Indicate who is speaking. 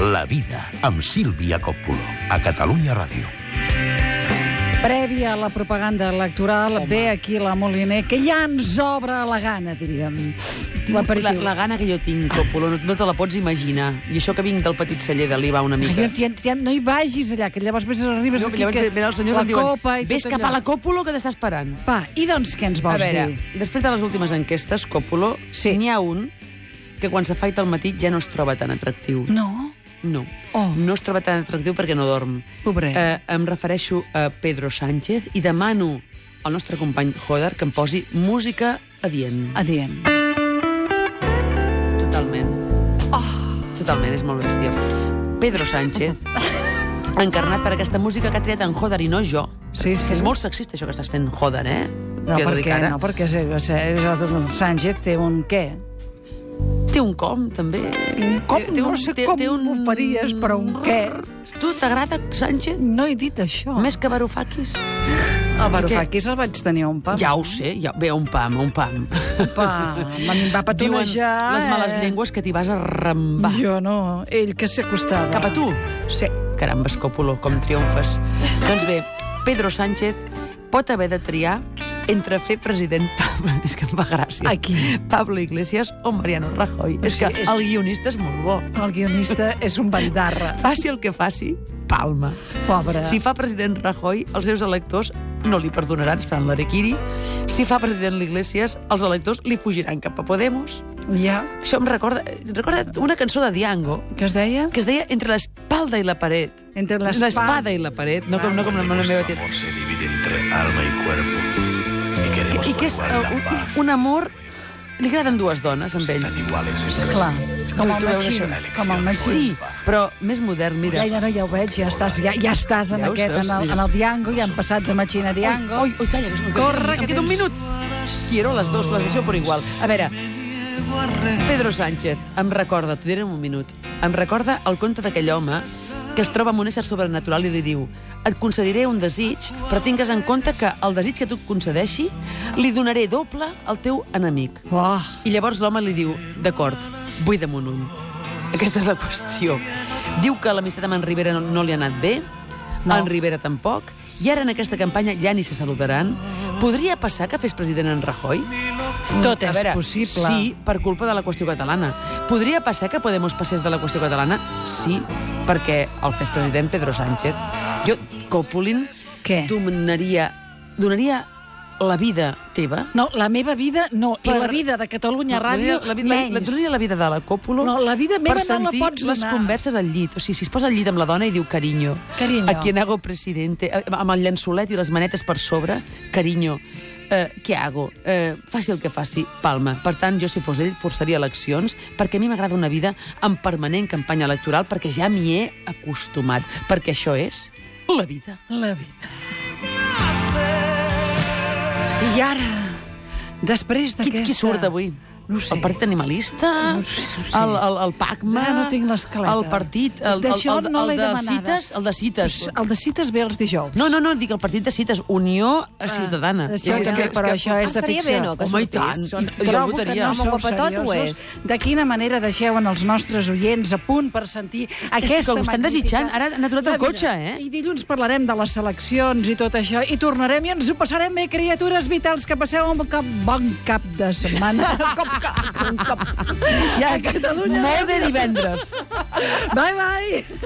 Speaker 1: La vida amb Sílvia Coppolo, a Catalunya Ràdio.
Speaker 2: Prèvia a la propaganda electoral, Home. ve aquí la Moliner, que ja ens obre la gana, diríem.
Speaker 3: la,
Speaker 2: L'aperitiu.
Speaker 3: la gana que jo tinc, Còpolo, no, no te la pots imaginar. I això que vinc del petit celler de l'Iva una
Speaker 2: Ai,
Speaker 3: mica.
Speaker 2: no, tia, tia, no hi vagis allà, que llavors més arribes
Speaker 3: No,
Speaker 2: aquí...
Speaker 3: llavors
Speaker 2: que
Speaker 3: venen els senyors
Speaker 2: la
Speaker 3: em diuen,
Speaker 2: copa i
Speaker 3: vés
Speaker 2: tot
Speaker 3: cap
Speaker 2: allò.
Speaker 3: a la Còpolo que t'està esperant.
Speaker 2: Va, i doncs què ens
Speaker 3: A
Speaker 2: vols
Speaker 3: veure,
Speaker 2: dir?
Speaker 3: després de les últimes enquestes, Còpolo,
Speaker 2: Sí.
Speaker 3: n'hi ha un que quan s'afaita al matí ja no es troba tan atractiu.
Speaker 2: No?
Speaker 3: No.
Speaker 2: Oh.
Speaker 3: No es troba tan atractiu perquè no dorm.
Speaker 2: Pobret.
Speaker 3: Eh, em refereixo a Pedro Sánchez i demano al nostre company Joder que em posi música adient.
Speaker 2: Adient.
Speaker 3: Totalment. Oh. Totalment, és molt bèstia. Pedro Sánchez, encarnat per aquesta música que ha triat en Joder i no jo.
Speaker 2: Sí, sí.
Speaker 3: És molt sexista això que estàs fent, Joder, eh?
Speaker 2: No,
Speaker 3: Jo t'ho
Speaker 2: per
Speaker 3: dic
Speaker 2: què?
Speaker 3: ara.
Speaker 2: No, perquè és, és, és el Sánchez té un què?
Speaker 3: Té un com, també.
Speaker 2: Un com?
Speaker 3: Té- té
Speaker 2: No sé com ho faries, però un què?
Speaker 3: Tu t'agrada Sánchez?
Speaker 2: No he dit això.
Speaker 3: Més que Varoufakis?
Speaker 2: el Varoufakis el vaig tenir a un pam.
Speaker 3: Ja ho sé, ja... bé, un pam, un pam.
Speaker 2: Pa, a mi em va
Speaker 3: Diuen
Speaker 2: petonejar,
Speaker 3: les males
Speaker 2: eh?
Speaker 3: llengües que t'hi vas arrambar.
Speaker 2: Jo no, ell que s'acostava.
Speaker 3: Cap a tu?
Speaker 2: Sí.
Speaker 3: Caramba, Escòpolo, com triomfes. doncs bé, Pedro Sánchez pot haver de triar entre fer president... és que em fa gràcia.
Speaker 2: Aquí.
Speaker 3: Pablo Iglesias o Mariano Rajoy. És
Speaker 2: Sí,
Speaker 3: que
Speaker 2: és-
Speaker 3: el guionista és molt bo.
Speaker 2: El guionista és un bandarra.
Speaker 3: Faci el que faci, palma.
Speaker 2: Pobre.
Speaker 3: Si fa president Rajoy, els seus electors no li perdonaran, es faran l'arequiri. Si fa president l'Iglesias, els electors li fugiran cap a Podemos.
Speaker 2: Ja.
Speaker 3: Això em recorda, recorda una cançó de Diango,
Speaker 2: Què es deia?
Speaker 3: que es deia Entre l'espalda i la paret.
Speaker 2: Entre l'espa-
Speaker 3: l'espada i la paret, no com, no com la, la meva tieta.
Speaker 1: amor se divide entre alma y cuerpo. Y queremos
Speaker 3: I que és
Speaker 1: procurar
Speaker 3: eh,
Speaker 1: la paz.
Speaker 3: un, un amor... Li agraden dues dones, amb ell.
Speaker 1: Tan iguales en el-
Speaker 2: Clar, com
Speaker 3: Tu-
Speaker 2: el
Speaker 3: tu veus
Speaker 2: Machín.
Speaker 3: això?
Speaker 2: Com el Machín.
Speaker 3: Sí, però més modern, mira.
Speaker 2: Ja, ja, no, ja ho veig, ja estàs, ja, ja estàs en
Speaker 3: Ja ho
Speaker 2: aquest,
Speaker 3: saps,
Speaker 2: en el,
Speaker 3: mira.
Speaker 2: en el Diango, ja han passat de Machín a Diango.
Speaker 3: Oi, oi, calla, que és un
Speaker 2: Corre,
Speaker 3: em
Speaker 2: que
Speaker 3: queda un
Speaker 2: tens-
Speaker 3: minut. Quiero les dos, les deixo per igual. A veure, Pedro Sánchez, em recorda, t'ho diré en un minut, em recorda el conte d'aquell home que es troba amb un ésser sobrenatural i li diu et concediré un desig, però tingues en compte que el desig que tu et concedeixi li donaré doble al teu enemic.
Speaker 2: Oh,
Speaker 3: I llavors l'home li diu, d'acord, buida'm un ull. Aquesta és la qüestió. Diu que l'amistat amb en Rivera no, no li ha anat bé,
Speaker 2: No.
Speaker 3: no. en Rivera tampoc, i ara en aquesta campanya ja ni se saludaran. Podria passar que fes president en Rajoy? Mm,
Speaker 2: tot
Speaker 3: A
Speaker 2: és
Speaker 3: veure,
Speaker 2: possible.
Speaker 3: Sí, per culpa de la qüestió catalana. Podria passar que Podemos passés de la qüestió catalana? Sí, perquè el fes president Pedro Sánchez. Jo, Copolin,
Speaker 2: Què?
Speaker 3: donaria, donaria la vida teva
Speaker 2: No, la meva vida no, i la
Speaker 3: Per-
Speaker 2: vida de Catalunya
Speaker 3: no,
Speaker 2: Ràdio
Speaker 3: la, vida- la,
Speaker 2: menys.
Speaker 3: la, donaria la vida de la Còpolo
Speaker 2: No, la vida meva
Speaker 3: per
Speaker 2: no la
Speaker 3: sentir
Speaker 2: pots
Speaker 3: les
Speaker 2: donar.
Speaker 3: converses al llit. O sigui, si es posa al llit amb la dona i diu carinyo,
Speaker 2: Carinyo.
Speaker 3: a quien hago presidente, eh, amb el llençolet i les manetes per sobre, carinyo, eh, què hago? Eh, faci el que faci, palma. Per tant, jo, si fos ell, forçaria eleccions, perquè a mi m'agrada una vida en permanent campanya electoral, perquè ja m'hi he acostumat, perquè això és la vida.
Speaker 2: La vida. I ara, després
Speaker 3: Qui,
Speaker 2: d'aquesta...
Speaker 3: qui surt avui?
Speaker 2: No ho sé.
Speaker 3: El partit animalista?
Speaker 2: No ho sé, no ho sé.
Speaker 3: El, el, el PACMA?
Speaker 2: Ara no tinc l'escaleta.
Speaker 3: El partit... El, el,
Speaker 2: D'això
Speaker 3: el,
Speaker 2: no l'he
Speaker 3: el de
Speaker 2: demanada.
Speaker 3: cites? El de cites.
Speaker 2: El de cites ve els dijous.
Speaker 3: No, no, no, dic el partit de cites. Unió ah, Ciutadana.
Speaker 2: Això
Speaker 3: És
Speaker 2: és que, però això és de
Speaker 4: Estaria
Speaker 2: ficció.
Speaker 4: bé, no, que
Speaker 3: Home, i
Speaker 4: sortís?
Speaker 3: tant.
Speaker 4: Són-
Speaker 3: Jo
Speaker 2: Trobo que
Speaker 3: votaria.
Speaker 2: no
Speaker 4: Home,
Speaker 2: sou
Speaker 4: papetot ho
Speaker 2: seriosos.
Speaker 4: és.
Speaker 2: De quina manera deixeuen els nostres oients a punt per sentir aquesta
Speaker 3: que ho estan
Speaker 2: magnífica-
Speaker 3: desitjant. Ara han aturat
Speaker 2: La
Speaker 3: el
Speaker 2: vida.
Speaker 3: cotxe, eh?
Speaker 2: I dilluns parlarem de les seleccions i tot això, i tornarem i ens ho passarem bé, criatures vitals, que passeu un cap, bon cap de setmana.
Speaker 3: ja,
Speaker 2: A Catalunya
Speaker 3: Molt de divendres.
Speaker 2: bye, bye!